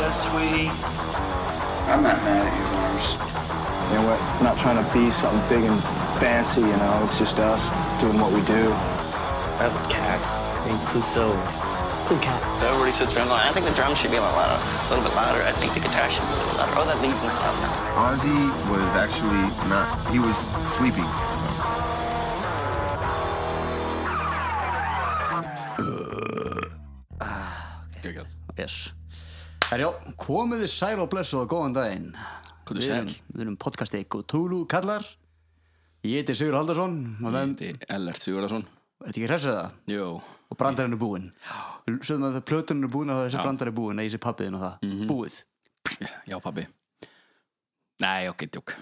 Yes, sweetie. I'm not mad at you, Lars. You know, we're not trying to be something big and fancy, you know, it's just us doing what we do. I have a cat. It's just so cool cat. Everybody sits around going, I think the drums should be a little louder, a little bit louder. I think the guitar should be a little louder. Oh, that lead's not loud enough. Ozzy was actually not, he was sleeping. Geggjað. Yes. Herjá, komið þið sæl og blessuð og góðan daginn Komdu Við erum- sæl. Við erum podcastið Cthulhu kallar Ég heiti Sigur Haldarsson og það er Heiti- Ellert Sigurðarsson Er þetta ekki hressið það? Jó Og brandarinn er búinn Við Sögum að plötuninn er búinn og þessi brandar er búinn Nei, þessi pappiðin og það Búið Mhm. Já, pabbi. Nei, ok, djók.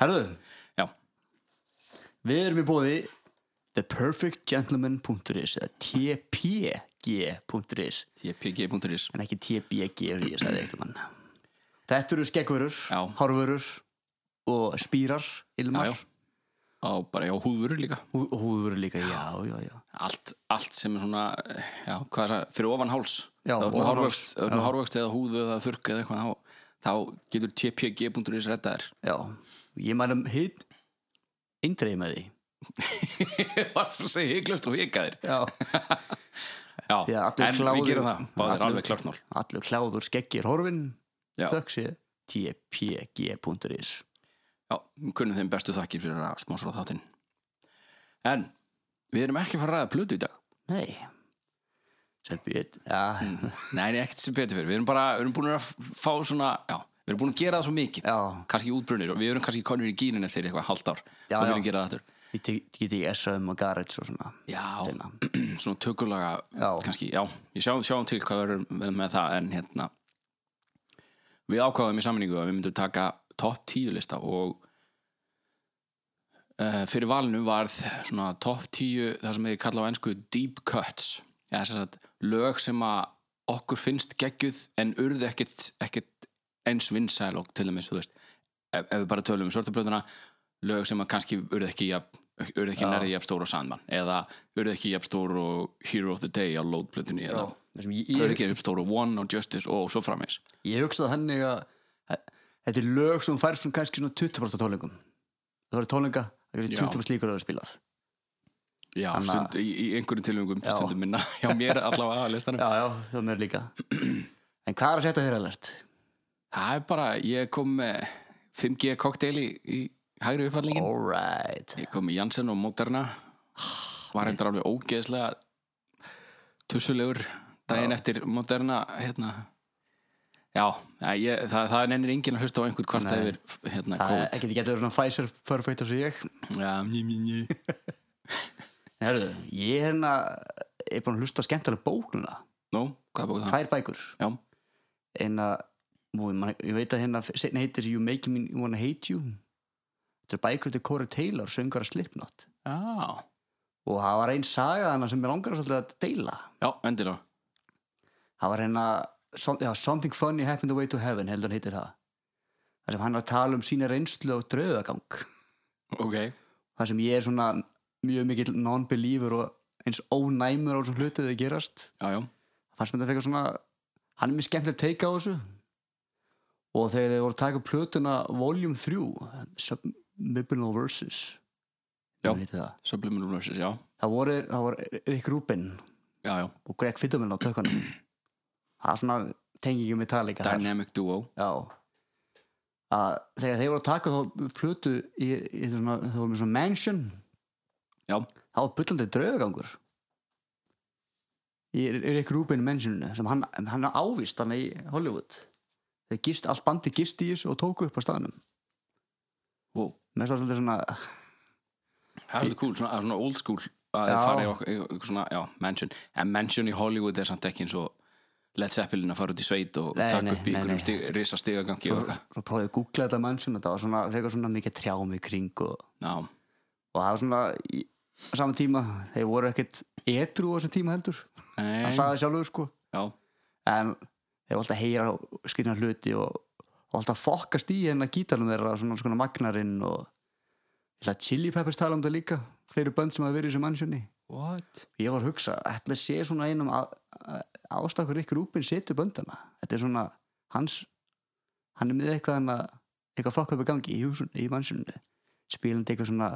Herðu, Já. við erum í bóði ThePerfectGentleman.is eða tpg.is TPG.is. en ekki tbg eins og ég sagði eitthvað mann Þetta eru skeggvörur, Já. hárvörur og spýrar, Já, ilmar já. Á bara, já, húðvöru líka. Hú, húður líka, já, já, já Allt, allt sem er svona, eh, já, hvað er það, fyrir ofan háls. Já, það er ofan háls. hárvöxt, það er hárvöxt eða húðu eða þurrk eða eitthvað. Þá, þá getur TPG.is redda þér. Já, ég mælum hitt eindreið með því Ég varst fyrir að segja hygglust og hikaðir. Já, Já, Já, allur en kláður- við gerum það. Báðir allur- alveg klart mál. allur kláður skeggir horfin Já. þökk sé tpg.is Já, við kunnum þeim bestu þakkir fyrir að smásra þáttinn. En við erum ekki að fara að ræða plötu í dag. Nei sem við, já, Nei, nei, ekkert sem betur fyrir. Við erum bara, við erum búin að fá svona, já, við erum búin að gera það svo mikið. já Kanski útbrunir og við erum kannski konur í gínin eftir eitthvað halvt ár. Já, og við já. erum gera það aftur. ég tek- get ekki S.A.M. og Garage og svona Já, Þeirna. svona tökulaga, Já. kannski, já. Ég sjáum, sjáum til hvað verður verður með það, en hérna, við ákváðum í sammenningu að við myndum taka topp tíu lista og uh, fyrir valinu varð svona topp tíu, það sem þeir kalla á ennsku deep cuts, eða sem sagt lög sem að okkur finnst geggjuð en urðu ekkit, ekkit eins vinsæl og til dæmis, þú veist ef, ef við bara tölum um svörtablöðuna lög sem að kannski urðu ekki jafn- urðu ekki Já. nærri jafn stór og Sandman eða urðu ekki jafn stór og Hero of the Day á lótblöðunni eða Þessum ég, urðu ég, ekki jafn stór og One og Justice og svo framins ég hugsaði henni að þetta er lög sem fær svona kannski svona 20% af tólingum það voru tólinga, það er Já. Mm. 20% líkur að það spilað Já, Þannig að- stund, í, í einhverjum tilöngum Já. stundum minna hjá mér allavega að listanum já, já, það er mér líka en hvað er að setja þér alert? Það er bara, ég kom með 5G kokteili í, í hægri uppfallingin alright Ég kom með Janssen og Moderna Var hendur alveg ógeðslega tussulegur daginn eftir Moderna hérna Já, að ég, það, það nennir enginn að hlusta á einhvern kvart Nei. yfir hérna það COVID getur getur svona Pfizer perfect eins og ég Já, njí, njí, njí Herðu, ég er hérna er búin að hlusta á skemmtilega bók núna Nú, hvað búið það? tvær bækur Já, hérna, mú, man, ég veit að hérna setna heitir You Make Me Wanna Hate You þetta er bækur til Corey Taylor söngar að Slipknot já, og það var einn saga hana sem ég langar svolítið að deila já endilega það var hérna some, já, Something Funny Happened Away to Heaven heldur hann heitir það þar sem hann er að tala um sína reynslu á draugagang Ok, þar sem ég er svona mjög mikill non-believer og eins ónæmur á þessum hlutið þau gerast já, já, fannst mér þetta fekka svona hann er mér skemmtileg teika á þessu og þegar þeir voru að taka upp plötuna Volume 3 Subliminal Verses Já. Hún heitir það. subliminal verses, já það voru, það voru Rick Rubin Já, já, og Greg Fittumann á tökunum það er svona tengingum með tala líka dynamic duo Já að þegar þeir voru að taka þá plötu í, í svona, það voru með svona mansion Já, þá var byllandi draugagangur í Rick Rubin mansioninu sem hann, hann er ávist hann í Hollywood þeir gist, allt bandi gist í þessu og tóku upp á staðnum wow. mér finnst það svolítið svona Það er svolítið cool, svona, svona old school að Já. þeir fara í ok- í ok- svona, já, mansion en mansion í Hollywood er samt ekki eins og Led Zeppelin að fara út í sveit og Nei, taka nei, upp í nei, einhverjum nei. stig, risa stigagangi og svo, eitthvað svo prófið að googla þetta mansion og það var svona, frekar svona mikið trjámi kring og, Já, og það var svona í, á saman tíma, þeir voru ekkert edru á þessum tíma heldur nei, hann sagði sjálfur sko já, en þeir voru alltaf að heyra skrina hluti og, og alltaf fokkast í hérna gítarnum þeirra svona svona magnarinn og ég ætla að Chili Peppers tala um þetta líka fleiri bönd sem hafa verið í þessu mannsjönni what? ég var að hugsa, ætla að sé svona einum að, að, ástakur ykkur úpin setur böndana þetta er svona hans hann er með eitthvað hann að eitthvað fokk upp í gangi í húsun, í mannsunni spilandi eitthvað svona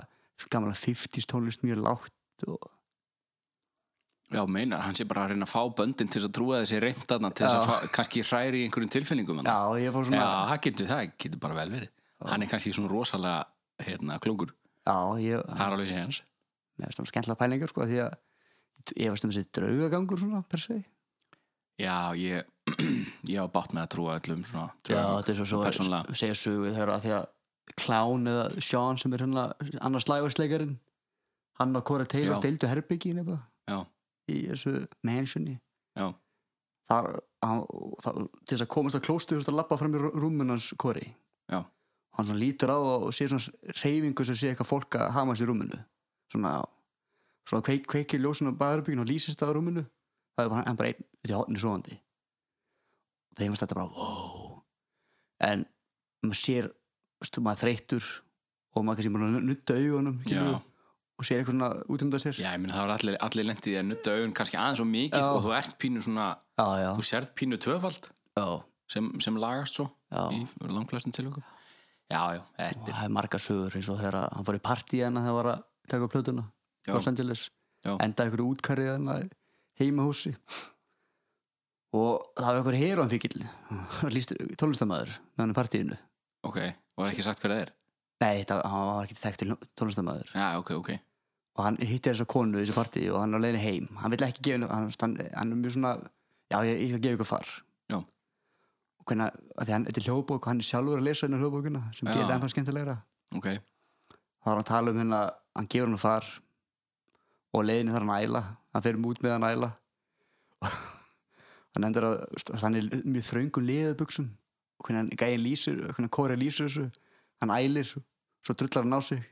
gamla 50s tónlist mjög lágt og Já, meinar, hann sé bara að reyna að fá böndin til þess að trúa þessi reyndarna til þess Já. að fá, kannski hræri í einhverjum tilfinningum þarna. já, ég fór Já, svona það getur, það getur bara vel verið Hann er kannski svona rosalega hérna, klungur, já, ég, það er alveg sé hans mér finnst það skemmtilega pælingar sko, því að ég varst um þessi draugagangur svona, per se Já, ég ég á bátt með að trúa öllum svona, Já, trúa- þetta er svo svo persónulega. segja sögu þegar að því að Klán eða Sean sem er hérna annars lægarsleikarinn hann og Corey Taylor Já. deildu herbyggi nefna, Já. í þessu mansioni Já. Þar, hann, það, til þess að komast á klóstu þú ert að labba fram í rúmun hans Corey Já. hann svona lítur á það og sé svona reyfingu sem sé eitthvað fólk að hamast í rúminu svona, svona kveik, kveikir ljósun á baðarbyggin og lýsist það á rúminu það er bara, hann bara einn út í hotni svoandi þegar maður þetta bara wow. en maður sér stu, maður er þreyttur og maður kannski bara nutta augunum Já, skilurðu, og sér eitthvað svona út um það sér já, ég minn það var allir, allir lent í því að nutta augun kannski aðeins og mikið Já. og þú ert pínu svona, já, já, þú sérð pínu tvöfald já, sem, sem lagast svo já. í langflestum tilöku Já, já, Og þetta er það er marga sögur eins og þegar að hann fór í partí hana þegar hann var að taka upp plötuna Já. Los Angeles Já. endaði ykkur útkarrið hana hérna heimahúsi og það var ykkur heróan fíkil tónlistamæður með hann í partíinu Ok, og er ekki sagt hvað það er? nei, það, hann var ekki þekktur tónlistamæður Já, ok, ok og hann hittir þessa konu í þessu partí og hann er á leiðinu heim hann vill ekki gefa henni hann, hann, hann er mjög svona já ég, ég skal gefa ykkur far Já. og hvernig að því hann þetta er hljóðbók og hann er sjálfur að lesa henni hljóðbókuna sem Já. gerir það ennþá skemmtilegra Ok, þá er hann að tala um hérna hann gefur henni far og á leiðinu þarf hann að æla hann fer mút með hann að æla hann endur að hann er í mjög þröngum liðabuxum og hvernig hann gæðin lýsir hvernig kóri lýsir þessu hann ælir svo drullar hann á sig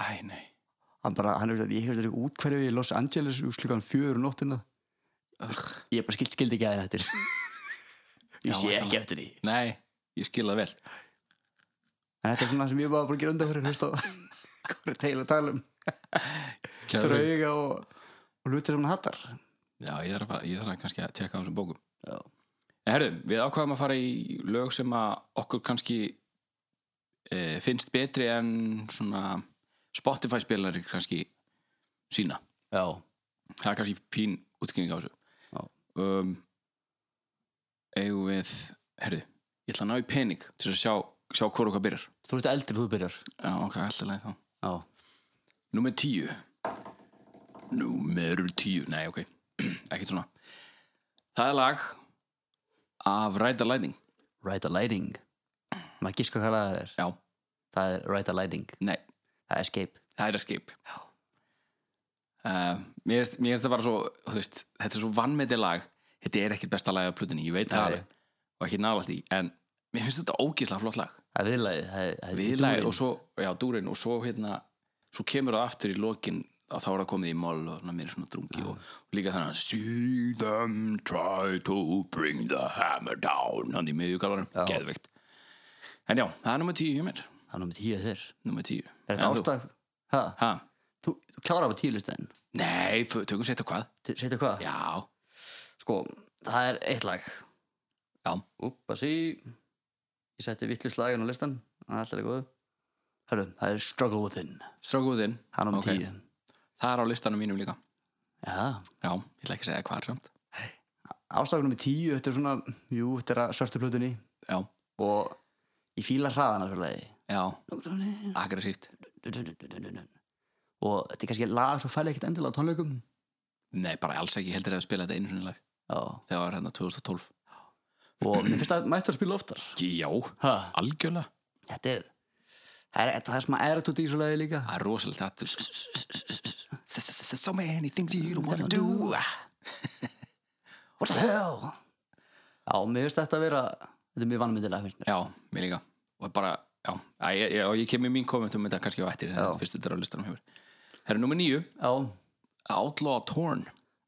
æ, nei hann bara, hann er, ég hefði þetta útkverfi í Los Angeles úr klukkan fjögur um nóttina Ugh. ég bara skild, skildi ekki aðeins eftir Já, ég sé væntanlega. ekki eftir því Nei, ég skil það vel en þetta er svona sem ég bara búin að gera undan fyrir hlust á hvað er teil að tala um Kjærleik. drauga og, og hluti sem hann hattar Já, ég þarf, að, fara- ég þarf að kannski að tjekka á þessum bókum Já. En herru, við ákvaðum að fara í lög sem að okkur kannski e, finnst betri en svona Spotify spilari kannski sína já, það er kannski fín útkynning á þessu Já. um, eigum við herðu, ég ætla að ná í pening til að sjá, sjá hvort okkar byrjar þú ert eldri, þú byrjar já, ok, alltaf leið þá já, Númer tíu Númer tíu Nei, ok, ekkert svona Það er lag af Ræta Lightning right a lighting maður gíska hvað það er Já, það er right a lighting, nei, það er escape það er Escape uh, Mér finnst mér finnst það bara svo þú veist, Þetta er svo vannmeti lag Þetta er ekkert besta lag af plutinni, ég veit það Nei. alveg og ekki nálægt í, en mér finnst þetta ógislega flott lag það er viðlagið, það er, það er viðlæg dúrinn. og svo, já, dúrin og svo hérna, svo kemur það aftur í lokin að þá er það komið í mál og svona, mér er svona drungi og, og líka þannig að see them try to bring the hammer down hann í miðjugalvarum, Já. geðveikt en já, það er nummer tíu hjá mér það er námið tíu þér nummer tíu er þetta En þú? ástæð, hæ, Ha? þú, þú klárar á tíu listæðin Nei, f- tökum setja hvað setja hvað? já, Sko, það er eitt lag Já. Úpa sí Ég setti vittlust lagin á listan Það er alltaf góð Hörru, það er Struggle Within strákuðinn, Hann um Ok. tíu það er á listanum mínum líka Já, já, ég ætla ekki að segja hvað samt ástakunum með tíu Þetta er svona, jú, þetta er að svörtu plötunni já, Og ég fíla hraðan af þessu já, lagi aggressíft Og þetta er kannski lag svo fæli ekkert endilega á tónleikum nei, bara alls ekki, heldur að spila þetta einu sinni í live Já þegar var hérna 2012 Og mér finnst að mættu að spila oftar já, ha. algjörlega Þetta er Það er, það er smá eratút í þessu lagi líka Það er rosalega þetta So many things you don't wanna do. What the hell? Já, mér finnst þetta að vera Þetta er mjög vannmyndilega finnst mér Já, mér líka Og bara, já, Æ, ég, ég, og ég kem í mín kommentum þetta kannski á eftir, Já. þetta fyrst þetta er á listanum hefur Það er nummer nýju, Já, Outlaw Torn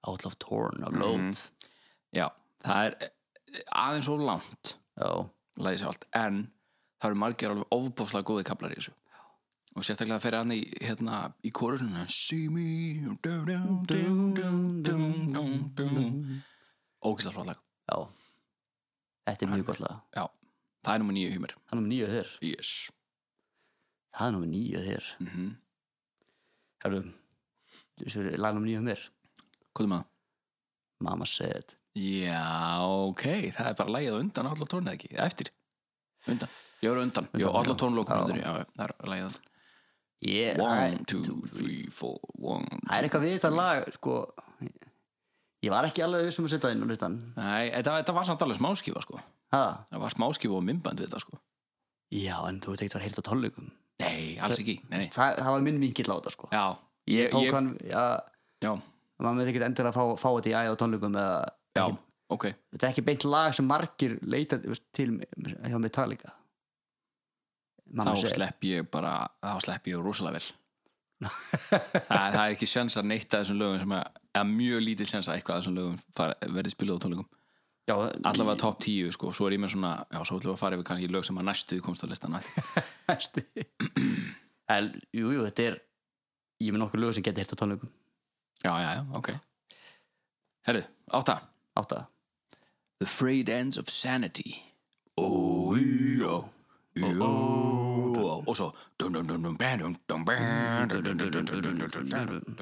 Outlaw Torn og Load Mhm. Já, það er eh, aðeins of langt Já, læði sér allt, en það eru margir alveg ofbóðslega góði kaplar í þessu og sérstaklega fyrir hann í hérna í kórunum See me dum, dum, dum, dum, dum, dum, dum. ógæslega flott lag já þetta er mjög gott lag já, það er nummer nýju hjá mér það er nummer nýju þér yes. það er nummer nýju þér mm -hmm. herru þessu er lag nummer nýju hjá mér hvað er maður? mamma said Já, ok, það er bara lægið á undan allar tónu eða ekki, Eða eftir undan, ég voru undan, ég Undan, voru allar já. tónlókum Já. undan, já, það er lægið á undan yeah, það One, er- two, three, four, one það er eitthvað við þetta lag sko ég var ekki alveg þessum að setja það inn á listan Nei, þetta, þetta var samt alveg smáskífa, sko ha Það var smáskífa og mymband við þetta, sko já en þú veit ekki það var heilt á tónleikum Nei, alls ekki, nei það, það var minn vinkill á þetta sko Já, ég tók ég- hann að já, maður með ekki endilega fá, fá þetta í æð á tónleikum eða já, ekki, ok þetta er ekki beint lag sem margir leita þú veist, til hjá Metallica Þá mamma segir slepp ég bara, þá slepp ég rosalega vel það, það er ekki sjans að neitt að þessum lögum sem að, eða mjög lítið sjans að eitthvað að þessum lögum fara- verði spiluð á tónleikum Já, allavega topp 10 sko, svo er ég með svona já, svo ætlum við að fara yfir kannski lög sem að næstu komst á listan næsti en jú, jú, þetta er ég er með nokkur lög sem getur hirt á tónleikum já, já, já, ok herðu, átta átta The frayed ends of sanity oh, jó og svo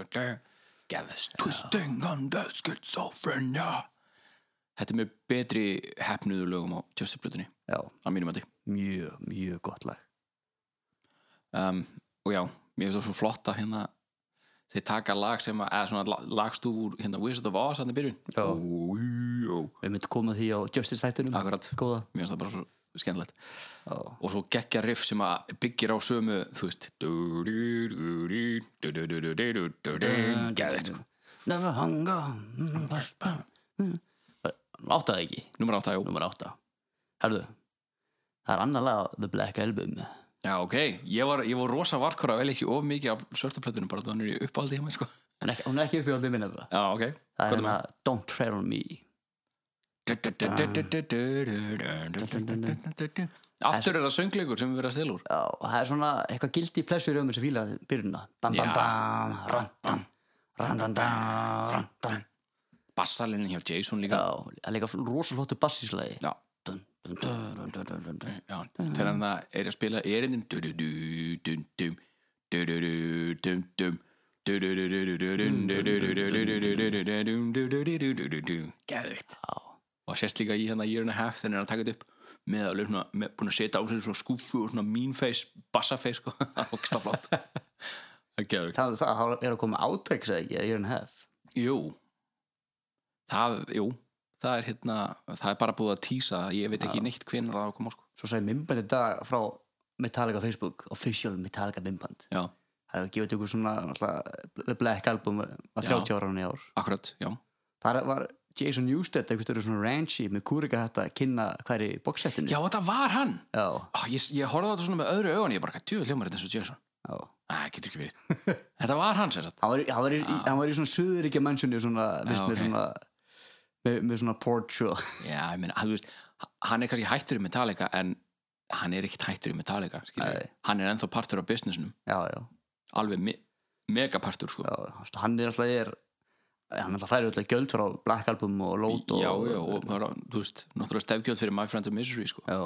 Gæðast Twisting on the schizophrenia Þetta er með betri hefnuðu lögum á tjóstuplutinni já, að mínum að því mjög, mjög gott lag um, og já, mér finnst það svo flott að hérna þeir taka lag sem að, eða svona la- lagstúr hérna Wizard of Oz hann í byrjun Já. Ó, jú. við myndum koma því á Justice þættinum akkurat, góða mér finnst það bara svo skemmtilegt Já. og svo geggja riff sem að byggir á sömu þú veist Geðveikt, sko. never hung on áttaði ekki Númer átta, jú nummer átta herðu það er annar lag á The Black Album Já, ok, ég var, ég var rosa varkur að velja ekki of mikið af svörtaplötunum bara þannig er ég uppáldi hjá mér sko en ekki, hún er ekki upp í allir minna það Já, ok það Hvað er er hérna Don't Tread on Me Aftur er það söngleikur sem við verðum að stela úr Já, og það er svona eitthvað gildi í plessu í raumur sem fíla byrjunna bam bam Já. bam, randan randan dan, randan bassalinn hjá Jason já, líka það er líka rosalóttu bassíslagi Já. Dun, dun, dun, dun, dun, dun, dun, dun. Já, þegar hann það er að spila erindin Du-du-du-dum-dum Du-du-du-dum-dum Du-du-du-du-du-dum-dum-du-du-du-du-du-du-du-du-du-du-du-du-du-du-du-du. Geðveikt Já. og sérst líka í hérna year and a half þegar hann er að taka þetta upp með alveg svona, með, búin að setja á sig svona skúfu og svona mean face, bassa face sko, okksta flott það er geðveikt, það, það það er að koma átæk sagði ekki, ég er enn hef jú það, jú það er hérna, það er bara búið að tísa ég veit ekki neitt hvenær það á að koma sko svo sagði mimband í dag frá Metallica Facebook, official Metallica mimband já, það er að gefa þetta ykkur svona náttúrulega, The Black Album að 30 ára hann í ár akkurat, já þar var Jason Newsted eitthvað störu svona ranchi með kúrika þetta að kynna hverju bóksettinu já, þetta var hann já, Ó, Ah, ég, ég horfði á þetta svona með öðru augun ég bara, hvað djúið hljómar þetta eins og Jason já Æ, getur ekki verið þetta var hann sér satt hann var, í- hann var, í, hann var í svona suðuríkja mannsjónu svona, vist, Ah. ok. með svona með, með svona portjó já, ég meina, að þú veist, hann er kannski hættur í Metallica en hann er ekkit hættur í Metallica skilurðu. Nei. hann er ennþá partur á businessnum já, já, alveg me megapartur sko já Svo hann er alltaf er hann alltaf færi alltaf gjöld frá Black Album og Lót og, já, já, og bara, þú veist, náttúrulega stefgjöld fyrir My Friend of Misery sko já,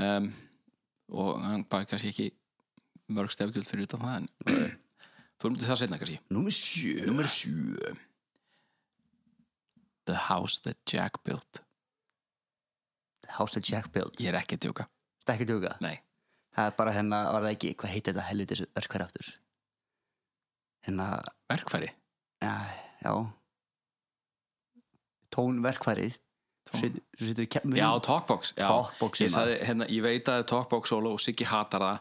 um, og hann bara kannski ekki mörg stefgjöld fyrir utan það en fyrir til það setna kannski númer sjö Númer 7 The House That Jack Built House of Jack Build, Ég er ekki að djóka þetta er ekki tjóka Nei. það er bara hérna, var það ekki, hvað heitir þetta helvitis verkværi aftur hérna, Verkfæri já, já tónverkværið svo sit- svo situr við kemur Já, Talkbox já. Talkbox, ég, maður. sagði, hérna, ég veit að Talkbox solo og Siggi hatar það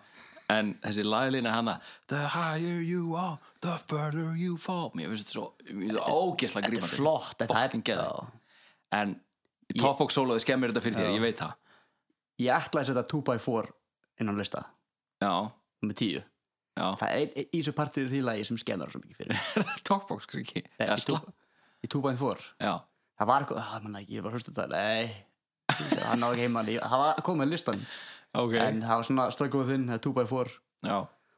en þessi laglina hana The higher you are, the further you fall Mér finnst þetta svo mér finnst þetta ógeðslega þetta er grímandi flott þetta er- Fucking geðveikt. já. En Talkbox soloði skemmir þetta fyrir þér, ég veit það ég ætlaði að setja 2x4 inn á lista, Já, nummer 10 já, það er ein- ein- í þessu partir því lagi sem skemmar svo mikið fyrir Talkbox Siggi Nei, Já, í sla- 2 í 2x4 já, það var eitthvað, það manna ekki, ég var að hlusta það nei, það náði ekki heimann það var komið listan, ok en það var svona ströggum við þinn, það er 2x4 Já,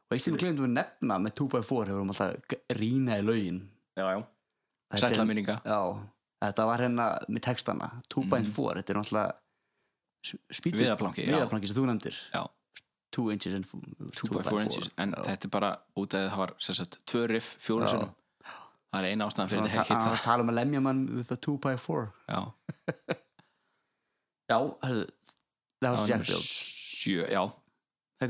og eitt sem við glemdum að nefna með 2x4 hefur um alltaf rýna í laugin já, já, Þetta er- sætla minninga já, þetta var hérna með textana 2.4, þetta er náttúrulega spýtu, Viðarplanki, Mhm. já. viðarplanki sem þú nefndir Já. 2 inches and 2.4 2x4 inches en þetta er bara út af því að það var sem sagt, tvö riff fjórum Já. sinnum það er eina ástæðan fyrir þetta það hitta tala um að lemja mann við það 2.4 já, já, hörðu það var það svo var Jack númer Build sjö já,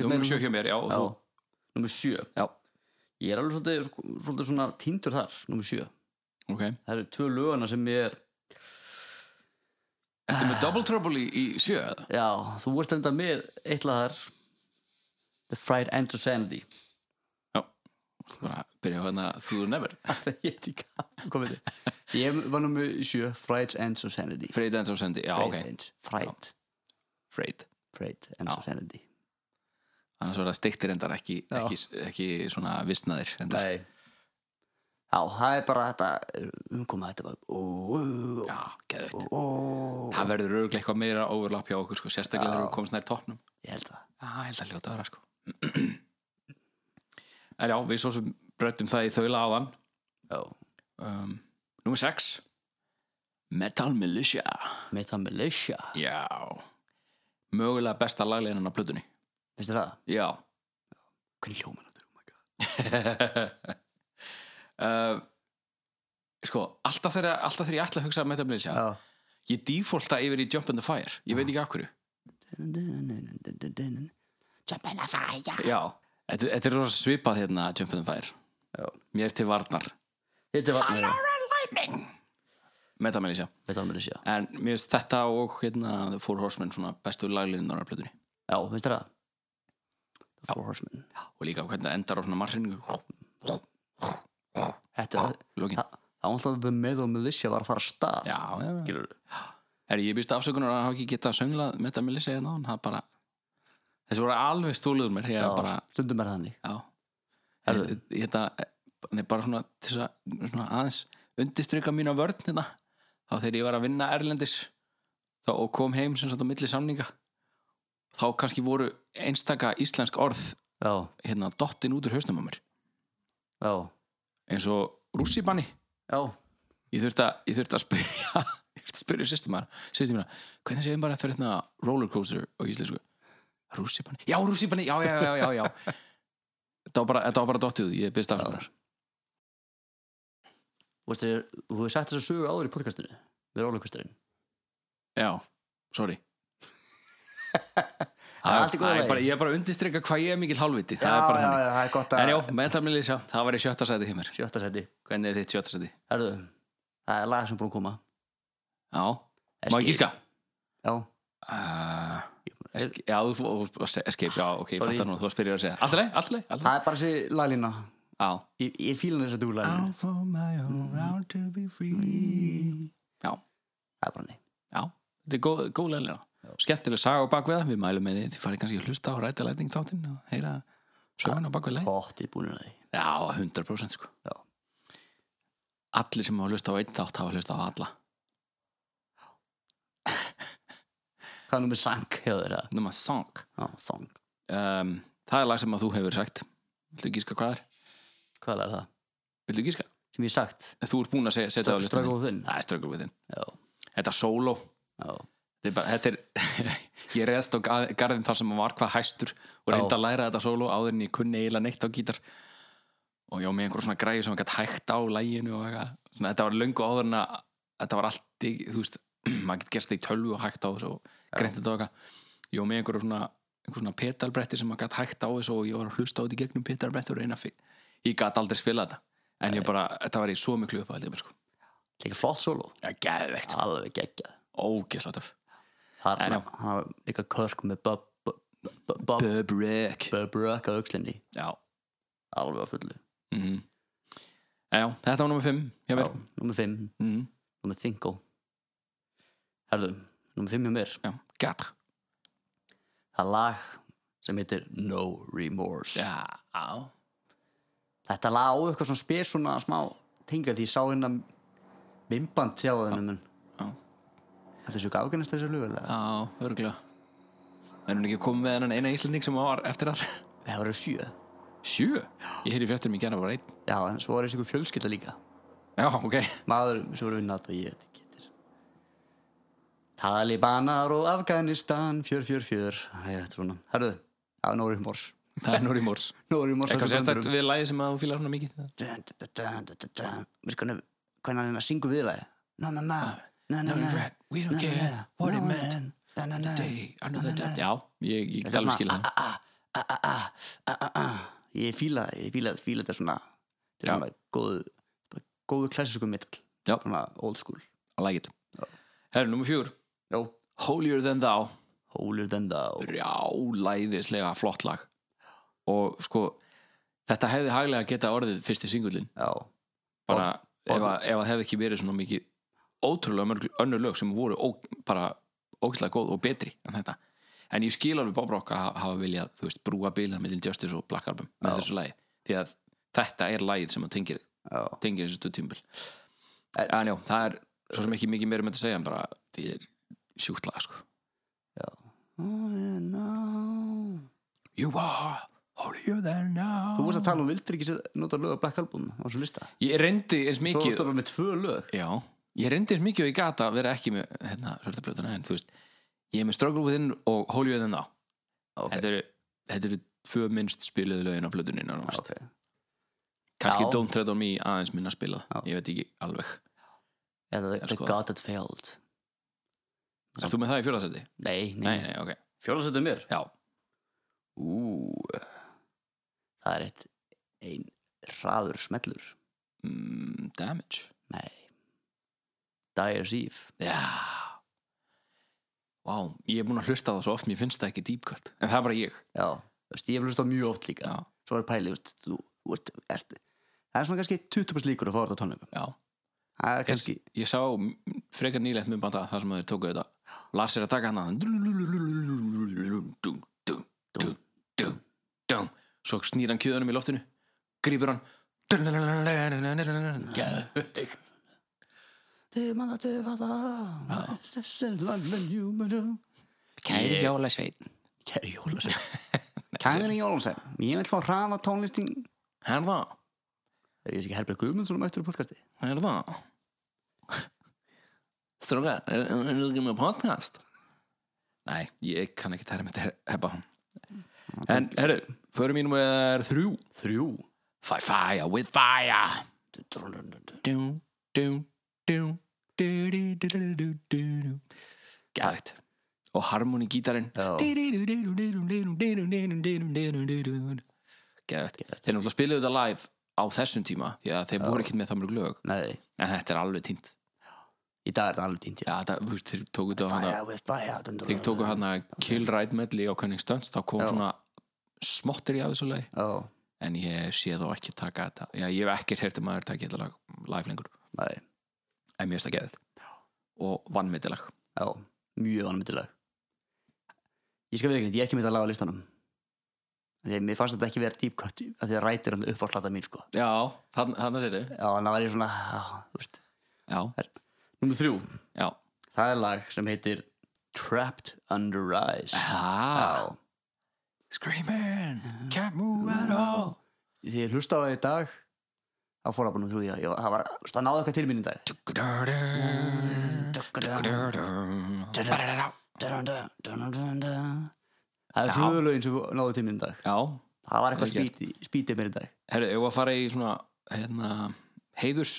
númer sjö hjá mér já, og já, þú, nummer 7 já, ég er alveg svolítið, sko, svolítið svona tindur þar nummer 7 ok það eru tvö lögana sem ég er Ertu með Double Trouble í, í sjö eða? já, þú ert enda með eitthvað þar The Fried End of Sanity já, bara byrja á hérna Þú er never það hétt í komið þið ég var nummer 7, Fried Ends of Sanity Freyð Dance of Sandy, já, Fried ok Ends- Fried, Freyð, Fried Ends of Já. Sanity annars var það steiktir endar ekki, Já. ekki, ekki svona vissnaðir endar nei já, það er bara þetta umkoma þetta bara ó, ó, já, geðvægt ó, ó. það verður örglega eitthvað meira overlap hjá okkur sko, sérstaklega þegar við komum snær tóknum ég held það Já, ég held að hljóta það sko. En já, við svo sem breytum það í þaula áðan já, um, Númer 6 Metal Militia Meta Militia Já Mögulega besta lagleinan á plötunni veistu það, Já hvernig hljóman þetta er, oh my god. uh, Sko, alltaf þegar, alltaf þegar ég ætla að hugsa að Metal Militia já Ég dýfólta yfir í Jump in the Fire Ég veit ekki af hverju Jump in a fire Já, þetta, þetta er rosa svipað hérna Jump in the Fire Já. Mér til varnar Þetta var Fire Metal Militia Þetta var mér að sjá En mér finnst þetta og hérna The Four Horsemen svona bestu laglinunar á plötunni Já, veistu það? The Four Horsemen og líka hvernig það endar á svona marringu Þetta er Lokin. Það það var alltaf að The Metal Militia var að fara af stað Já, já, já. Er ég býst afsökunar að hafa ekki getað sönglað með þetta Melissa hérna á hann, það bara þessi voru alveg stúluður mér Já, ég bara, stundum er það þannig já Herðu. Ég- ég- Þetta, nei, bara svona, til þess að, svona aðeins undirstryka mína vörn hérna þá þegar ég var að vinna Erlendis þá, og kom heim sem sagt á milli samninga þá kannski voru einstaka íslensk orð Já, hérna dottin út úr hausnum á mér já, eins og rússibanni já ég þurfti að, ég þurfti að spyrja ég þurfti að spyrja sýstumar sýstumina, hvernig séum bara eftir hérna rollercoaster á íslensku rússibanni, já rússibanni, já já já já, já. þetta var bara, þetta var bara dottið ég byrst afslunar Þú veist þér, þú hefur sagt þess að sögu áður í podcastinu Við erum álökusturinn já, sorry Það er allt í góðu Það lagi. bara, ég er bara að undirstrykka hvað ég er mikill hálfviti Já, það er bara já, þannig já, það er gott en að já, metamilísja, það var í sjötta sæti hjá mér Sjötta seti hvernig er þitt sjötta sæti? Herðu, það er lag sem búin að koma já, má ég gíska? Já, Uh, esk- já, þú- þú- þú- escape, já, ok, ég Sorry. fattar nú þú varst byrjuð að segja, alltaf leið, alltaf leið, alltaf leið það er bara þessi laglína já, Ég, ég fílan þess að þú laglína já, Það er bara nei Mm. já, þetta er góð, góð leilina skemmtileg saga á bakveða, við mælum með þið þið farið kannski að hlusta á ræta læting þáttinn og heyra söguna á bakveða leið Hóttið búin að því já, 100% sko Já. allir sem hafa hlusta á einn þátt hafa hlusta á alla Hvað er nú með sang hjá þér að? nummer song Já, song um, það er lag sem að þú hefur sagt villu gíska hvað er, Hvað er það? villu gíska Sem ég hef sagt þú ert búin að segja, setja á listan Struggle þinn. within það er struggle within, Já, þetta er solo já Þetta er bara, þetta er, ég reðst á ga- garðin þar sem hann var hvað hæstur og reyndi að læra þetta solo áður en ég kunni eiginlega neitt á gítar og ég á með einhver svona græði sem hann gætt hægt á læginu og eitthvað, svona þetta var löngu áður en að þetta var allt í, þú veist maður gett gerst þetta í tölvu og hægt á þessu og greint þetta og eitthvað ég á með einhver svona, einhver svona pedalbretti sem hann gætt hægt á þessu og ég var að hlusta á þetta í gegnum pedalbretti og reyna að fi- ég gætt aldrei spila þetta en ég bara, þetta var í svo miklu uppáhaldi sko. Líka flott solo Já, geðveikt, Alveg geggjað ógeðslega töff Það En er já. hann hann var líka körk með Bob Bob- Bob- Bob Bub Rick Bob Rock á aukslinni Já, Alveg á fullu mm Já, þetta var nummer 5 hjá Já, mér Númer 5 mm. Númer Thinko Herðu Númer 5 hjá mér Já, gatr Það er lag sem heitir No Remorse Já, á Þetta lag á eitthvað svona spes svona smá tenga því ég sá hérna minnband hjá þennum en Já. Þetta er svo gáðgjörnast þessu lögulega Á, örgulega Það er hún ekki komið með hennan eina Íslending sem var eftir þar Það voru sjö Sjö? Ég heyri fréttum í gerða var einn Já, en svo var þessi ykkur fjölskylda líka Já, ok maður sem voru við NATO, ég veit ekki hvað þetta er. Talibanar og Afganistan fjör, fjör, fjör Æ, þetta er svona, herðu, já, Nóri Mórs Það er Nóri Mórs Nóri Mórs Eitthvað sérstætt við lagi sem að þú fílar svona mikið við skoðum hvernig hann syngur viðlega um na na na na na Ah, No na regret, we don't care what it meant Day, another day Já, ég, þetta ég get er svona alveg ah, skila það a, a, a, a, a, a, a, a. ah, ég fíla það, ég fíla, fíla þetta svona þetta er Já. svona góð góðu klassísku metal Já. svona old school I like it Herru, nummer fjúr Já. Holier Than Thou holier than thou Brjálæðislega flott lag Og sko, þetta hefði hæglega geta orðið fyrsti singullin já, Bara og- ef, að, ef að hefði ekki verið svona mikið Ótrúlega mörg önnur lög sem voru ó, bara ógæslega góð og betri en þetta En ég skil alveg Bob Rock að ha- hafa viljað, þú veist, brúa bílan mellin Justice og Black Album með Já. þessu lagi Því að þetta er lagið sem að tengir þig já, tengir þessu tvö tímbil Er- en já, það er svo sem ekki mikið meira með þetta að segja en bara, því er sjúkt lag sko. já Oh, yeah, no. You are holier than now Þú veist að tala um vildir ekki sér- nota lög af Black Album á svo lista Ég reyndi eins Svo mikið stofnum um með tvö lög Já, ég reyndi eins mikið og ég gata að vera ekki með hérna, svarta blötuna en þú veist, ég er með Struggle Within og Holier Than Thou Ok, Þetta eru, þetta eru tvö minnst spiluðu lögin á blötunni nánast. ok Kannski Já. Don't Tread On Me aðeins minna spilað, Já. ég veit ekki alveg Eða The, er the skoðað. God That Failed Erst þú með það í fjórðasæti? Nei, Nei, nei, nei, ok, Fjóðarsöndum mér já, Ú Það er eitt ein hraður smellur mm, Damage Nei Dyer's Eve Já Vá, ég er búin að hlusta á það svo oft mér finnst það ekki dýpkvælt, en það er bara Já, ég þú veist, ég hef hlustað mjög oft líka Já. Svo er pæli, þú veist, þú þú ert, ert Það er svona kannski 20% líkur að fá þetta á tónleikum Já, Það er kannski ég, ég sá m- frekar nýlegt mjög banda þar sem þeir tóku þetta Lars er að taka hann Svo snýr hann kjöðunum í loftinu grípur hann Geðveikt. Kæri Kæri Jólasveinn Jólasvein Kæri Jólasvein Ég vil fá hraða tónlistin Er það? Er ég sé ekki Herbjörg Guðmundsson mættur í podcasti? Er það? Strókar, er er þú ekki með podcast? Nei, ég kann ekki tæra með þetta heppa En, herru, förum mínum er þrjú Þrjú Fire, fire, with fire Dú, dú, dú, dú, dú, dú, dú, dú, dú, dú Gæðvægt Og harmoni gítarinn Já. Gæðvægt Þeir náttúrulega spiluðu þetta live á þessum tíma því að þeir voru ekki með það mörg lög Nei, en þetta er alveg tímt í dag er þetta alveg tínt Já, þetta, þú veist, þeir tóku þetta á hana Fire with fire Þeir tóku hana Kill Ride Medley á Cunning Stunts þá kom Já. svona smottir í af þessu leið Já, en ég sé þó ekki taka þetta Já, ég hef ekkert heyrt um að þeir taka þetta lag live lengur nei, en mér finnst það geðið og vannmyndilag já, mjög anmyndileg Ég skal viðkynna, ég er ekki mitt að laga listanum Þegar mér fannst þetta ekki vera dýpkvætt að því að rætir hann upp á hlata mín sko Já, þannig að segir þau Já, þannig var ég svona, já, þú veist Já, Númer þrjú, já það er lag sem heitir Trapped Under Ice ah. Já, Screaming, can't move at all því ég hlusta á það í dag þá fór það bara nú þrjú, já, ég, það var, þú veist, það náði eitthvað til mín í dag Það er fjóðu lögin sem náðu til minn í dag Já, Það var eitthvað Vel gert. spýti, spýtið mér í dag herru, ef að fara í svona hérna, heiðurs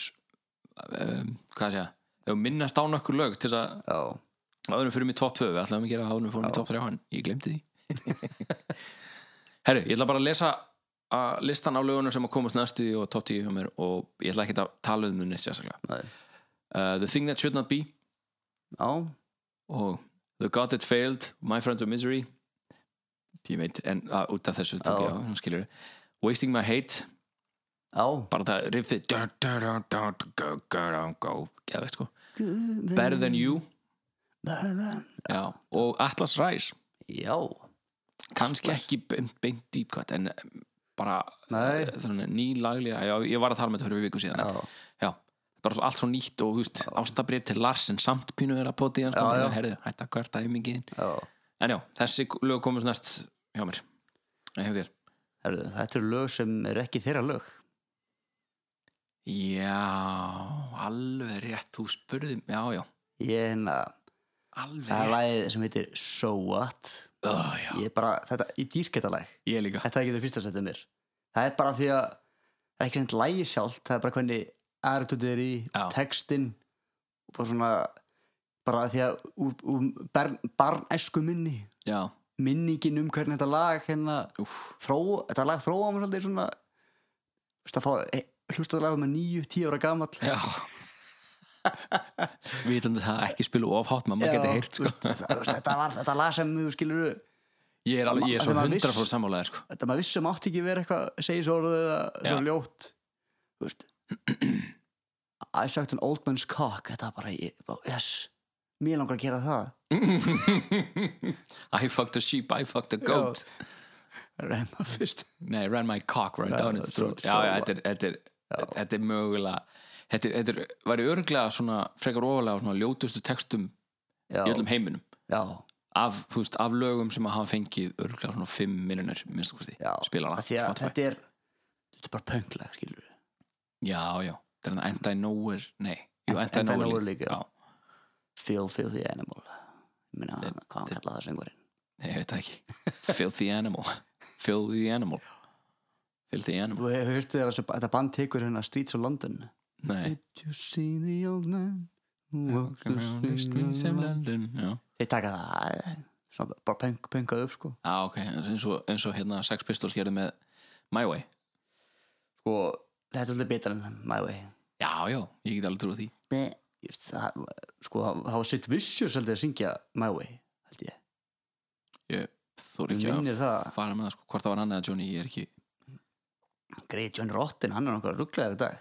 um, hvað sé ég, ef að minnast á nokkur lög til þess að Já, áðurum fyrir mig top 2, við ætlaðum að gera áðurum fyrir mig top 3 en ég glemti því Herru, ég ætla bara að lesa að listan á lögunum sem að komast næstu og top 10 hjá mér og ég ætla ekkert að tala um þau neitt sérstaklega Nei. uh, The Thing That Should Not Be já, og The God That Failed My Friends of Misery ég veit, en að, út af þessu tók Já. ég á, skilur Wasting My Hate, já bara það riffið da, da, da, da, da, da, da, da, geðveikt, sko. Better Than You Better than já. og Atlas Rise Já, kannski ekki beint, beint dýpkvætt en um, bara Nei. þannig, ný laglega, já, ég var að tala með þetta fyrir viku síðan já, já, bara svo allt svo nýtt og þú veist, ástabrið til Lars en samt pínu vera að poti hann sko, Já, bara, já. herðu, hætta hvert að yfingin já en já, þessi lög komast næst hjá mér en hjá þér Herðu, Þetta eru lög sem eru ekki þeirra lög Já, alveg rétt, þú spurði já, já, ég er hérna alveg það er rétt lagið sem heitir So What Ó, já, ég er bara, þetta, ég dýrk þetta lag ég líka þetta er ekki þau fyrsta setja mér það er bara því að það er ekki sem lægi sjálft það er bara hvernig attitude er í Já. textin og bara svona bara því að úr, úr barn, barnesku minni Já, minningin um hvernig þetta lag hérna úf, þró, þetta lag þróa mér svolítið svona þú veist að fá eh, hlusta á lagum með nýju, tíu ára gamall já Vitandi það ekki spilu of hátt maður geti heyrt, þú sko veist, það- þú veist, þetta, var, þetta lag sem þú skilur Ég er, alveg, ég er svo Þetta maður viss- hundra fór sammálaðir, sko þetta maður vissum átti ekki verið eitthvað segisorð eða svo Já. ljótt þú veist I sucked an old man's cock þetta var bara, ég, bara yes mér langar að gera það I fucked a sheep, I fucked a goat Rema fyrst Nei, ran my cock right Já, down its svo- throat svo- Já, já, þetta er, þetta er, þetta er mögulega Þetta, er- þetta er, væri örglega svona frekar ofalega svona ljótustu textum já, í öllum heiminum já, af, þú veist, af lögum sem að hafa fengið örglega svona 5 minunir minnst þú já spilana Af því að Spotify. þetta er þetta er bara pönglega skilur Já, já, þetta er hann Enda í Nowhere Nei, jú, Enda í End I Nowhere Nowhere líka. Já, feel, feel the animal ég minna hvað hann kallaði það söngvarinn ég veit það ekki Filthy Animal Filthy Animal Filthy Animal þú hefur hurtið þér að þetta band tekur hérna Streets of London Nei Did you see the old man who walked the streets of London Já, þeir taka það eh, svona bara pöng, pöngað upp sko Á, ok, eins og, eins og hérna Sex Pistols gerði með My Way sko þetta er alveg betra en My Way Já, já, ég get alveg trúið því Nei, ég veist, það, sko það það var sitt vissjur svolítið að syngja My Way held ég, Ég þór ég ekki að minnir það fara með það sko, hvort það var hann eða Johnny, ég er ekki greið John Rotten, hann er nokkað rugglaður í dag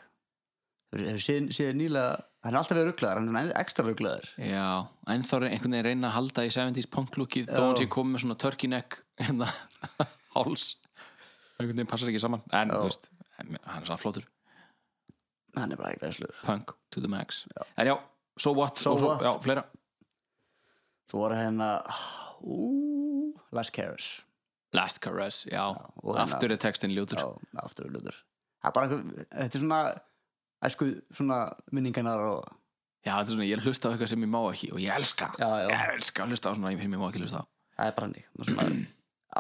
hefur séð, séð nýlega hann er alltaf verið rugglaður, hann er enn- ekstra rugglaður Já, en þá er einhvern veginn reyna að halda í 70s punklukkið þó hann sé komið með svona turkey neck hérna, háls einhvern veginn passar ekki saman en Já. þú veist, hann er svona flótur hann er bara ekki græsluður punk to the max en já, so what, So og svo, what? já, fleira svo voru hérna ú, Last Carers last caress, já, og hérna- aftur er textin ljótur já, aftur er luður það er bara einhver, þetta er svona æsku, svona minningarnar og já, þetta er svona, ég er að hlusta á eitthvað sem ég má ekki og ég elska, já, já, ég elska að hlusta á svona sem ég má ekki hlusta á það er bara hannig svona,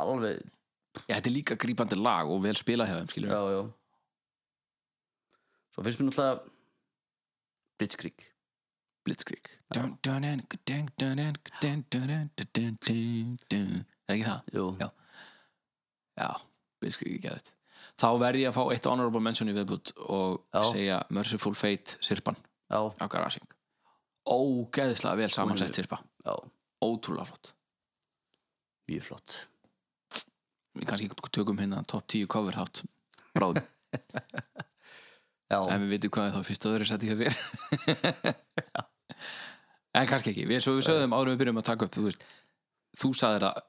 alveg, já, þetta er líka grípandi lag og vel spilað hjá þeim, skilur já, já svo finnst mér náttúrulega Blitzkrieg Blitzkrieg Dun, dun, dun, dun, dun, dun, dun, dun, dun, dun, dun, dun. er ekki það? Jú. Já. Já, Blitzkrieg er geðið Þá verð ég að fá eitt honorable mention í viðbútt og Já. segja Merciful Fate Sirpan já, á Garasing Ógeðslega vel samansett Sirpa já, Ótrúlega flott mjög flott Við kannski tökum hérna top 10 cover þátt bráðum, já, en við vitum hvað er þá fyrst öðru seti hjá þér en kannski ekki, við, svo við sögðum árum við byrjum að taka upp, þú veist þú sagðir að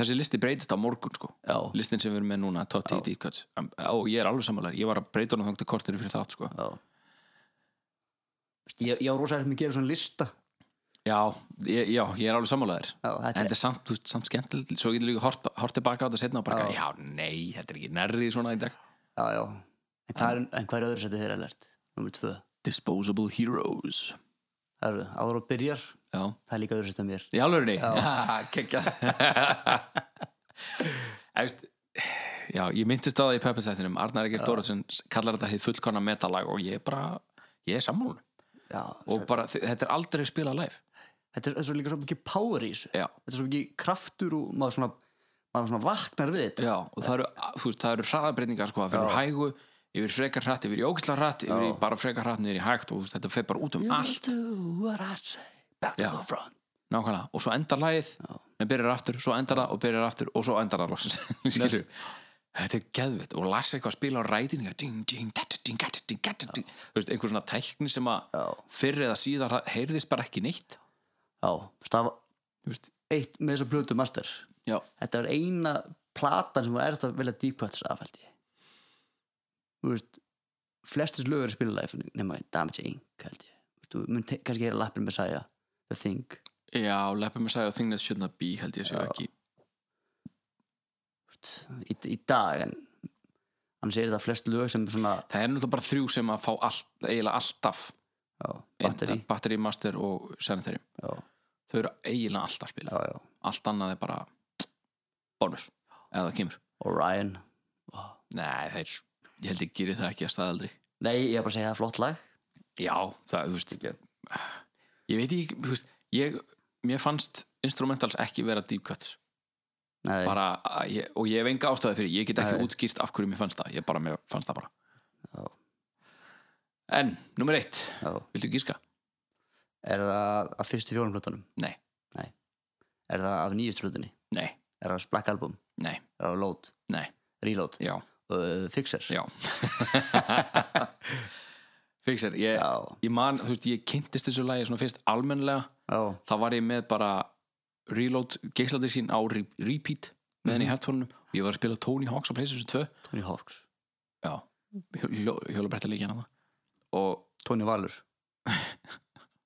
þessi listi breytist á morgun sko já, listin sem við erum með núna, top 10 deep cuts Am- og ég er alveg sammálar, ég var að breyta honum þangta kortir fyrir þátt sko já Veistu, ég, ég á rosa eftir að gera svona lista já, ég, já, ég er alveg sammálaðir já, en þetta þetta er samt, þú veist, samt skemmtilegt svo getur líka hort, hort tilbaka á þetta setna og bara já. já, nei, þetta er ekki nærri svona í dag já, já en hvað er, en hvað er öðru sætti þeirra lert? Númer tvö, Disposable Heroes það eru áður og byrjar já, það er líka öðru sætti mér í alvörinni kekja eftir já, ég myndist á það í Peppestættinum Arnar Eikir Dóraðsson kallar þetta hið fullkona metalag og ég er bara, ég er sammálun já, og bara, þi- þetta er aldrei spilað live þetta er, þetta er svo líka svo mikið power í þessu já þetta er svo mikið kraftur og maður svona, maður svona vaknar við þetta Já, og það eru, þú veist, það eru hraðabreiningar sko, það fyrir hægu, yfir frekar hrætt yfir í ógisla hrætt, yfir í bara frekar hrætt niður í hægt og þú veist, þetta fer bara út um allt do what I say back Já. the front nákvæmlega, og svo endar lagið en byrjar aftur, svo endar það og byrjar aftur og svo endar það loksins, skilur Þetta er geðvitt og lasa eitthvað að spila á rætinga ding, ding, data, ding, data, ding, data, ding þú veist, einhver svona tækni sem að Já. fyrr eða síðar heyrðist bara ekki neitt já, stafa þú veist, eitt með þessa blötu master já, þetta var eina platan sem var erft að velja deep cuts af held ég þú veist flestis lögur er spilalæf nema Damage Inc held ég Þú veist, þú mun te- kannski gera lappin með sæja The Thing Þú já, leppum við sagði á þingnið sjötna bí, held ég séu ekki veist, í, í dag en annars er þetta flest lög sem svona það er náttúrulega bara þrjú sem að fá all, eiginlega alltaf já, batteri Inn- Battery Master og Sanitary já, þau eru eiginlega alltaf spilað já, já. allt annað er bara bónus eða það kemur Orion nei þeir ég held ég gerir það ekki að staðaldri nei, ég er bara að segja það er flott lag já það þú veist ég veit ekki þú veist ég mér fannst instrumentals ekki vera deep cuts nei, bara að ég, og ég hef enga ástæði fyrir ég get ekki Nei. útskýrt af hverju mér fannst það ég bara mér fannst það bara Já. en nummer eitt já. viltu gíska er það af fyrstu fjórum hlutunum nei er það af nýjast hlutunni nei er það af Black Album nei er það af Load nei Reload já uh, Fixer já fixer ég já, ég man, þú veist, ég kynntist þessu lagi svona fyrst almennlega, já, þá var ég með bara reload geisladiskinn á re repeat með henni í headphoneum og ég var að spila Tony Hawk's á Playstation 2 Tony Hawks já, hjólabrætti líka hann hérna. og Tony Valur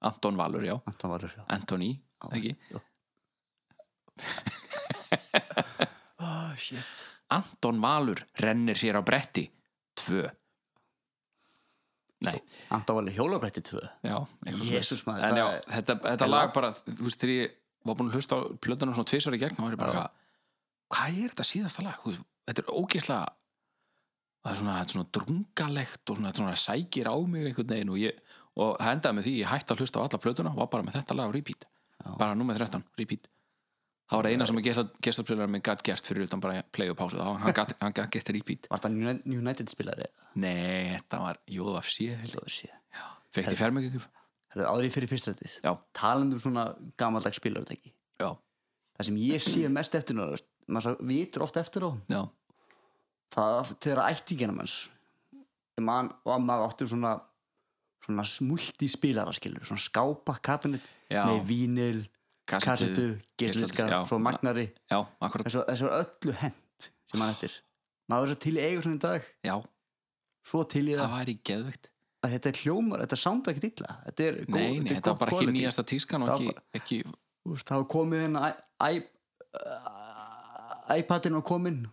Anton Valur, já, Anton Valur já. Anthony Já, ekki, já. oh shit Anton Valur rennir sér á bretti 2 nei, Anton Valur hjólabrætti 2 já eitthvað Jesús maður, svoleiðis. en já, það er- þetta, þetta er lag langt. bara, þú veist, þegar ég var búin að hlusta á plötunum svona tvisar í gegn þá var ég bara, Já. eitthvað, hvað er þetta síðasta lag Þú veist, þetta er ógeðslega það er svona, þetta er svona drungalegt og svona, þetta svona sækir á mig einhvern veginn og, ég, og það endaði með því, ég hætti að hlusta á alla plötuna og var bara með þetta lag á repeat Já. bara númer 13, repeat það var það eina sem að gestarplöðunar minn gætt gert fyrir utan bara play og pásu, þá hann gætt gat gert repeat Var það Uni- United spilari? nei, þetta var JFC Það var sé fekk ég fermingjöf Það er áður í fyrir fyrstrættið já, Talandi um svona gamaldags spilarutæki já, það sem ég sé mest eftir núna veist, maður svo vitur oft eftir á já, það þegar ættingina manns man, og maður áttu svona svona smulti spilara skilur svona skápa kabinet Já. með vínil, kassetu, geisladisk, gesliska já. svo magnari, já, akkurat þessu, þessu var öllu hent sem maður eftir maður er svo til í eigur svona í dag já, svo til í það það væri geðveikt að þetta er hljómar, þetta sándar ekkert illa þetta er góð, Nei, nei, þetta er þetta var gott bara ekki quality. nýjasta tískan og Það ekki, var ekki Þú veist, það var komið inn að iPadin var komin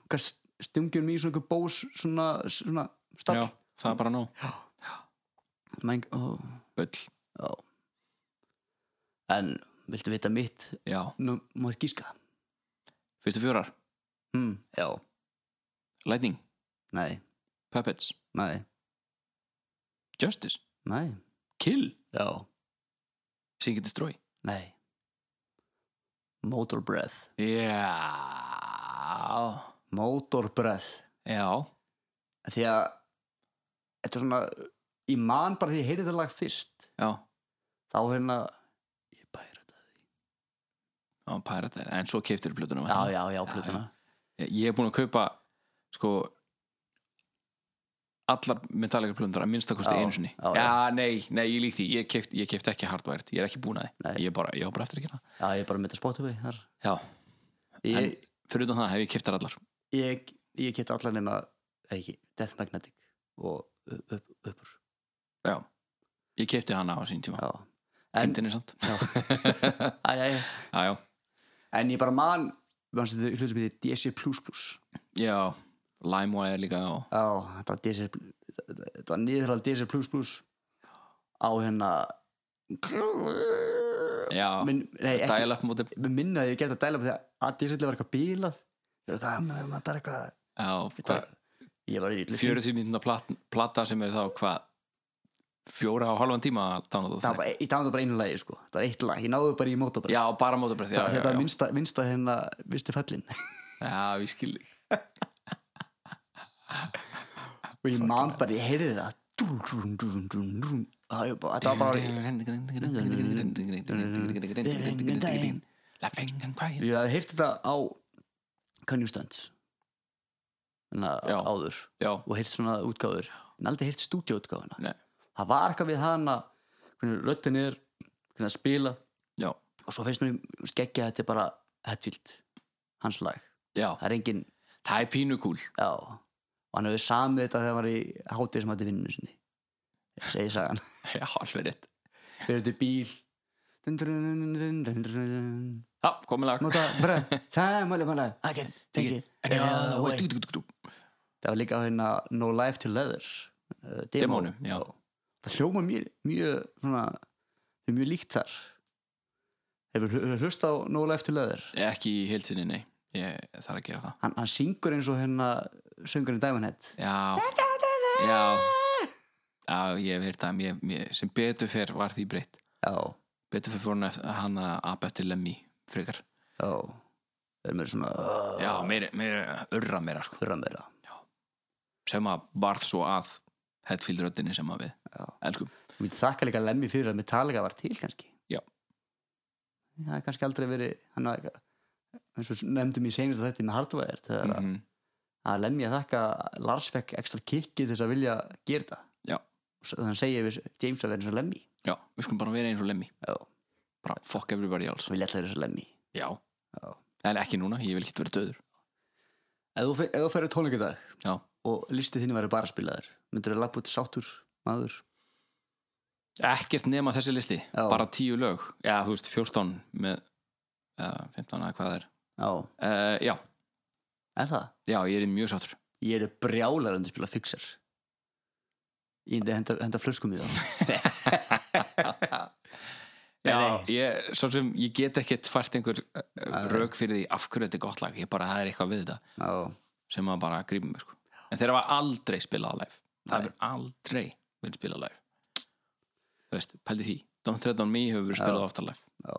stungið mér í svona einhver bós svona, svona stall já, það var bara nóg Mæng, ó, Bull, já. en viltu vita mitt já, nú mátt gíska fyrstu fjórar mm, já, Lightning, nei, Puppets, nei, Justice nei Kill, já, Sing and Destroy nei Motor Breath Já Motor Breath Já, því að þetta er svona, ég man bara því ég heyrði þetta lag fyrst já, þá hérna ég bæra þetta já, Pirate En svo keiftur plötuna já, já, já, Já, plötuna Ég- Ég hef búin að kaupa sko allar Metallica plötunar að minnstakosti Já, einu sinni já, já. nei, nei, ég lík því, ég keift, ég keift ekki hardvært ég er ekki búin að Nei. því, ég, bara, ég á bara eftir að gera það já, ég er bara með þetta Spotify þar Já, ég, en fyrir utan það hef ég keiftar allar ég, ég get allar nema ekki, Death Magnetic og upp, upp, uppur Já, ég keipti hana á sín tíma já. en, Kindinni samt já. Æ, æ, æ. Já, já, en ég bara man við þetta hlutum við DC++ já, já LimeWire líka og... þetta var DC þetta var niðurhald DC++ á hérna Já, Minn, nei, ekki, dial-up móti mér minna að ég gert að dæla því að DC var eitthvað bílað ég var eitthvað, "Ah, maður, það er eitthvað Já, Þetta- hvað, ég var í litlu 40 mínúna plata, plata sem er þá hvað fjóra og halvan tíma að það downloada var það. bara, ég dánaði bara einu lagi sko. það var eitt lag, ég náði bara í mótobröð Já, bara mótabröð já, já, þetta var já. minnsta, minnsta hérna minnsti fellin já, við skilji og ég man bara, ég heyrði það Dún, dún, dún, dún, dún. það var bara- þetta var bara Laughing and crying ég hafði heyrt þetta á Kanye Stunts þannig Já. að áður Já, og heyrt svona útgáður en aldrei heyrt stúdíóutgáðuna Nei. það var eitthvað við hana hvernig röddin er, hvernig að spila já, og svo finnst mér skeggja þetta er bara Hetfield, hans lag já það er engin Það er pínu kúl Já, og hann hefur samið þetta þegar hann var í hátíð sem hætti vinninu sinni segi sagan Já, alveg rétt Við erum til bíl Dun, dun, dun, dun, dun, dun, dun. Já, komið lag Nota, bara, það er mæli mæli I can take it En any já, other way. veist, dú, dú, dú, dú. það var líka á hérna No Life to Leather uh, demo. Demónu, já. það hljóma mjög, mjög svona, þau eru mjög líkt þar hefur hlu- hlust á No Life to Leather ekki í heilsinni, nei ég þarf að gera það hann, hann syngur eins og hérna söngurinn Diamond Head já já, já ég hef heyrt það mér, mér, sem betur fyrr var því breytt já, betur fyrr fór hann að- hann að apa eftir lemmi frekar já það er mér svona uh, já, meira, meira urra meira sko. fyrra meira sem að varð svo að Hetfield röddinni sem að við Já. elskum Þú myndi þakka líka Lemmi fyrir að Metallica var til kannski Já. Það er kannski aldrei verið hann að eins og nefndum í senast þetta með Hardware þegar mm mm -hmm. að Lemmi að þakka að Lars fekk ekstra kikki þess að vilja gera það Já. og hann segja við James að vera eins og Lemmi já, við skulum bara vera eins og lemmi Já. bara fuck everybody else sem vilja alltaf vera eins og Lemmi já. Já. en ekki núna, ég vil ekki vera döður Ef þú fer- ef þú ferður tónleika dag já, og listið þínu væri bara spilaður myndur þú lappa út sáttur maður ekkert nema þessi listi Já. bara tíu lög, já þú veist 14 með uh, 15 að hvað það er Já, uh, já, er það? já, ég er mjög sáttur Ég er brjálar en þú spila fixer Ég myndi henda, henda flöskum í það Já, Nei, eh, Ég, svo sem ég get ekkert fært einhver rauk fyrir því af hverju þetta er gott lag ég bara, það er eitthvað við þetta Já, sem að bara grípa mig sko. en þeirra var aldrei spilað á live það Nei. hefur aldrei verið spilað á live þú veist, pældi því Don't Tread On Me hefur verið spilað ofta live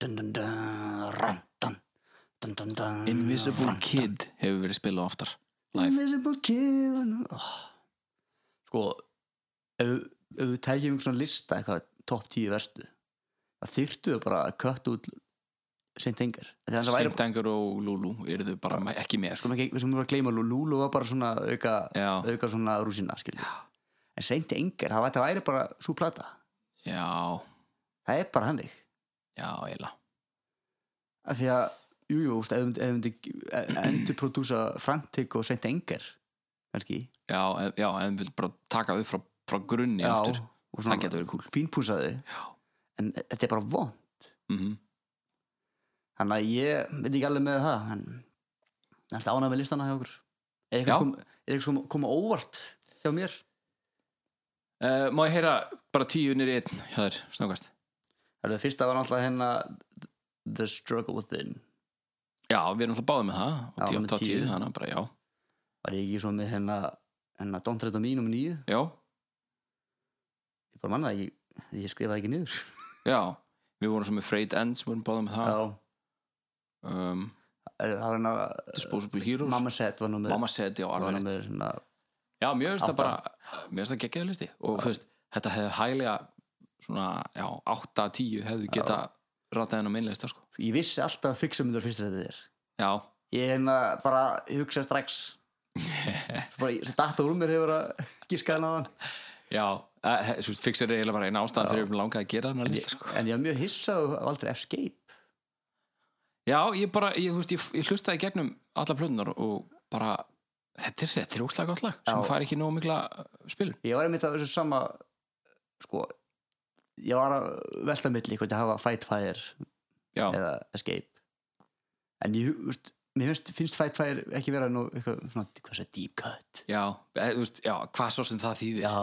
dun, dun, dun, ran, dun, dun, dun, dun, Invisible ran, Kid hefur verið spilað oftar dun, live Invisible Kid oh. Sko ef, ef við tækjum einhvern svona lista eitthvað topp 10 verstu það þyrftu þau bara að kött út seint engar þannig að væri Saint Anger og Lulu eru þau bara me- ekki með sko ekki, við sem bara gleyma Lú- Lúlu var bara svona auka, Já. auka svona rúsina skilju en seint engar, það væri, það væri bara svo plata já, það er bara hannig já, eila af því að jú, jú, úst, ef þú myndi endurprodúsa Frantic og seint engar kannski já, en- já, en við bara taka þau frá, frá grunni aftur og það svona getur verið kúl fínpúsaði já, en þetta er bara von mhm þannig að ég veit ekki alveg með það en ég ætla ánað með listana hjá okkur er Já. eitthvað kom, er eitthvað sem koma óvart hjá mér Uh, má ég heyra bara tíu unir í einn hjá þér, snöggast það er fyrsta var náttúrulega hérna The Struggle Within Já, við erum alltaf báðið með það og Já, tíu með átta á tíu, tíu. þannig að bara já var ég ekki svo með hérna hérna Don't Tread on Me nr. 9 Já, ég bara manna það ekki, ég skrifaði ekki niður já, við vorum svo með Freight Ends við vorum báðið með það já, um, er- það var hérna Disposable Heroes, Mamma, Mamma Set var nummer Mamma Set, já, var alveg rétt nummer hérna, Já, mér finnst það Átta. bara mér finnst það geggjaði listi og þú veist, þetta hefði hæglega svona, já, átta, tíu hefðu geta ratað henn á minnlista, sko ég vissi alltaf að fixa myndur fyrst þetta þér Já, ég hérna bara hugsa strax svo bara, svo datta úr mér hefur að gíska hann á hann já, eh, þú veist, fixir er eiginlega bara einn ástæðan fyrir við langaði að gera hennar en lista, ég, sko en ég var mjög hissað á aldrei Escape Já, ég bara, ég, þú veist, ég, ég hlustaði í gegnum alla plötunar og bara þetta er, þetta er óslag gott lag sem Já. fær ekki nóg mikla eh, spilun ég var einmitt að þessu sama sko ég var að velta milli hvort ég hafa Fight Fire Já, eða Escape en ég hu- veist, mér finnst, finnst Fight Fire ekki vera nú eitthvað svona hvað sé, deep cut já, eð, þú veist, já, hvað svo sem það þýðir já,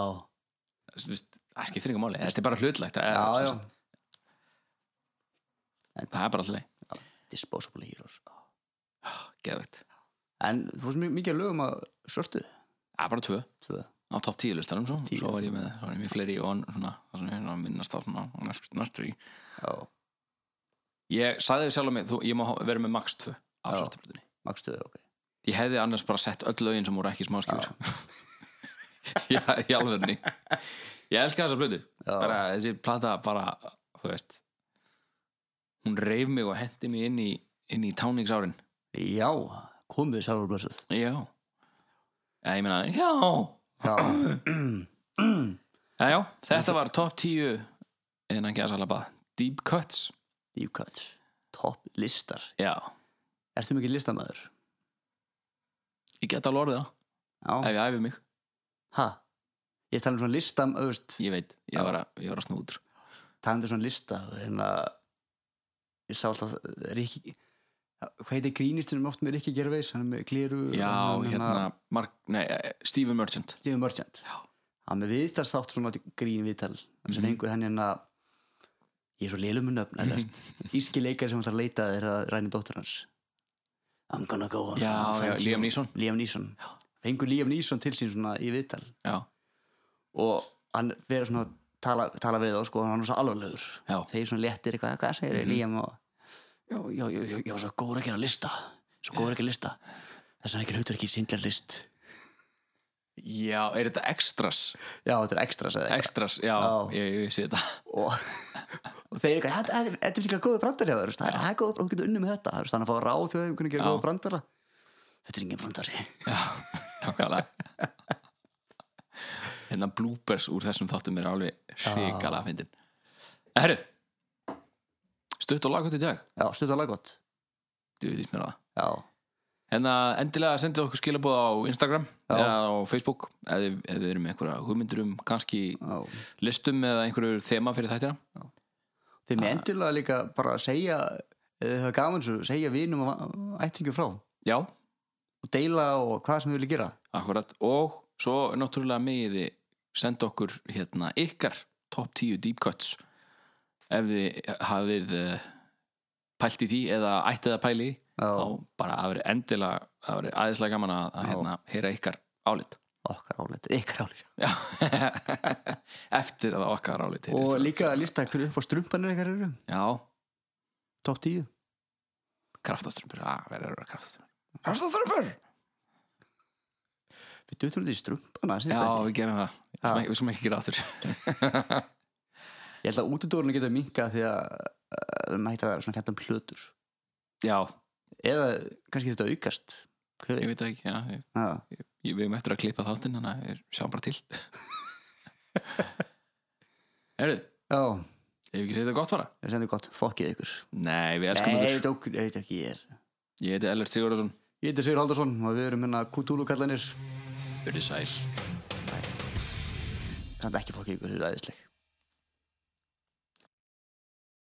Þú veist, það skiptir engu máli, þetta er bara hlutlægt það er, já, sem já. sagt- Það er bara alltaf leið, Disposable Heroes geðvægt en þú veist mi- mikið að lögum að svörtu Það er bara tvö, tvö á topp tíu listanum svo, Tíu. svo var ég með, svo var ég með fleiri og svona, það sem ég er að minnast á svona á næst- næstu í já, Ég sagði þau sjálf að mig, þú, ég má ha- vera með max tvö af Já. svartablutinni magstu þau, ok Ég hefði annars bara sett öll lögin sem voru ekki smáskjúr Já, í alvegni Ég elska þessa blödu Já. bara, Þessi plata bara, þú veist Hún reif mig og hendi mig inn í, inn í táningsárin já, komið sjálfur blessuð Já Já, ég meina, já já, Já, já, þetta var top 10 innan gæðsalabað Deep Cuts, deep cut, top listar já ertu mikið listamæður? Ég get alveg orðið það, já, ef ég æfi mig ha ég tala um svona listam, auðvist Ég veit, ég var að, ég var að snúður tala um svona lista hérna ég sá alltaf Ríkki eh, hvað heitir grínistinn oft með Rikki Gervais hann er með Gliru já, hann er með hérna Mark, nei, eh, Stephen Merchant Stephen Merchant Já. hann með viðtast þátt svona grín viðtal sem Mhm. fengur henni hérna ég er svo lélum mun Mhm. öfn íski leikari sem hann þarf að leita þegar að ræni dóttur hans I'm gonna go on Já, já, Liam Neeson. Liam Neeson fengur Liam Neeson til sín svona í viðtal já, og hann verður svona að tala, tala við þá sko, hann er svo alvarlegur Já. Mhm. þeir svona léttir eitthvað, hvað segir mm Liam og já, já, já, já, já, svo góður ekki að lista svo góður ekki að lista þess að ekki hlutur ekki sindlar list já, er þetta extras já, þetta er ekstra, sagði eitthvað extras, já, Já. ég, ég sé þetta og, og þeir eitthvað, þetta- þetta þetta er líka góður brandar hjá þér, þú veist, það er- það er góður brandar, þú getur unni með þetta þú veist, þannig að fá ráð þegar þú kunni gera Já. góður brandara þetta er engin brandari já, nákvæmlega hérna bloopers úr þessum þáttum er alveg hrikalega að fyndin herru stutt og laggótt í dag já, stöðu alveg gott duðið mér á það já, hérna endilega sendið okkur skilabóð á Instagram Já. eða á Facebook eða ef við erum með einhverja hugmyndur um kannski já. listum eða einhverju þema fyrir þættina þeir með endilega líka bara að segja ef þið hafa gaman svo, segja vinum og ættingu frá já, og deila og hvað sem við viljum gera akkurat og svo náttúrulega megiði senda okkur hérna ykkar top 10 deep cuts ef þið hafið uh, pælt í því eða ættið að pæli í já, þá bara að vera endilega að vera aðeinslega gaman að, að Já. hérna, heyra ykkar álit okkar álit, ykkar álit Já. eftir að okkar álit og heyrist. líka að lista hverju upp á strumpanir ykkar eru já, top 10 kraftaströmpur, að verður að vera kraftaströmpur við dutum þetta í strumpana síðustu já, helgi. við gerum það, Já. Sem, við skulum ekki gera aftur ég held að útidórunni geta minka því að uh, við erum hægt að svona fjalla um plötur já, eða kannski þetta aukast Hver ég veit? veit það ekki já, ég, Já. ég, við erum eftir að klippa þáttinn þannig að við sjáum bara til Herru, já, ef við ekki segja þetta gott bara við sendum gott, fokkið ykkur nei, við elskum nei, ykkur dók, ég veit ekki ég er ég heiti Ellert Sigurðarsson, ég heiti Sigur Haldarsson og við erum hérna kutúlukallanir verið sæl samt ekki fokkið ykkur, þau eru aðeinsleg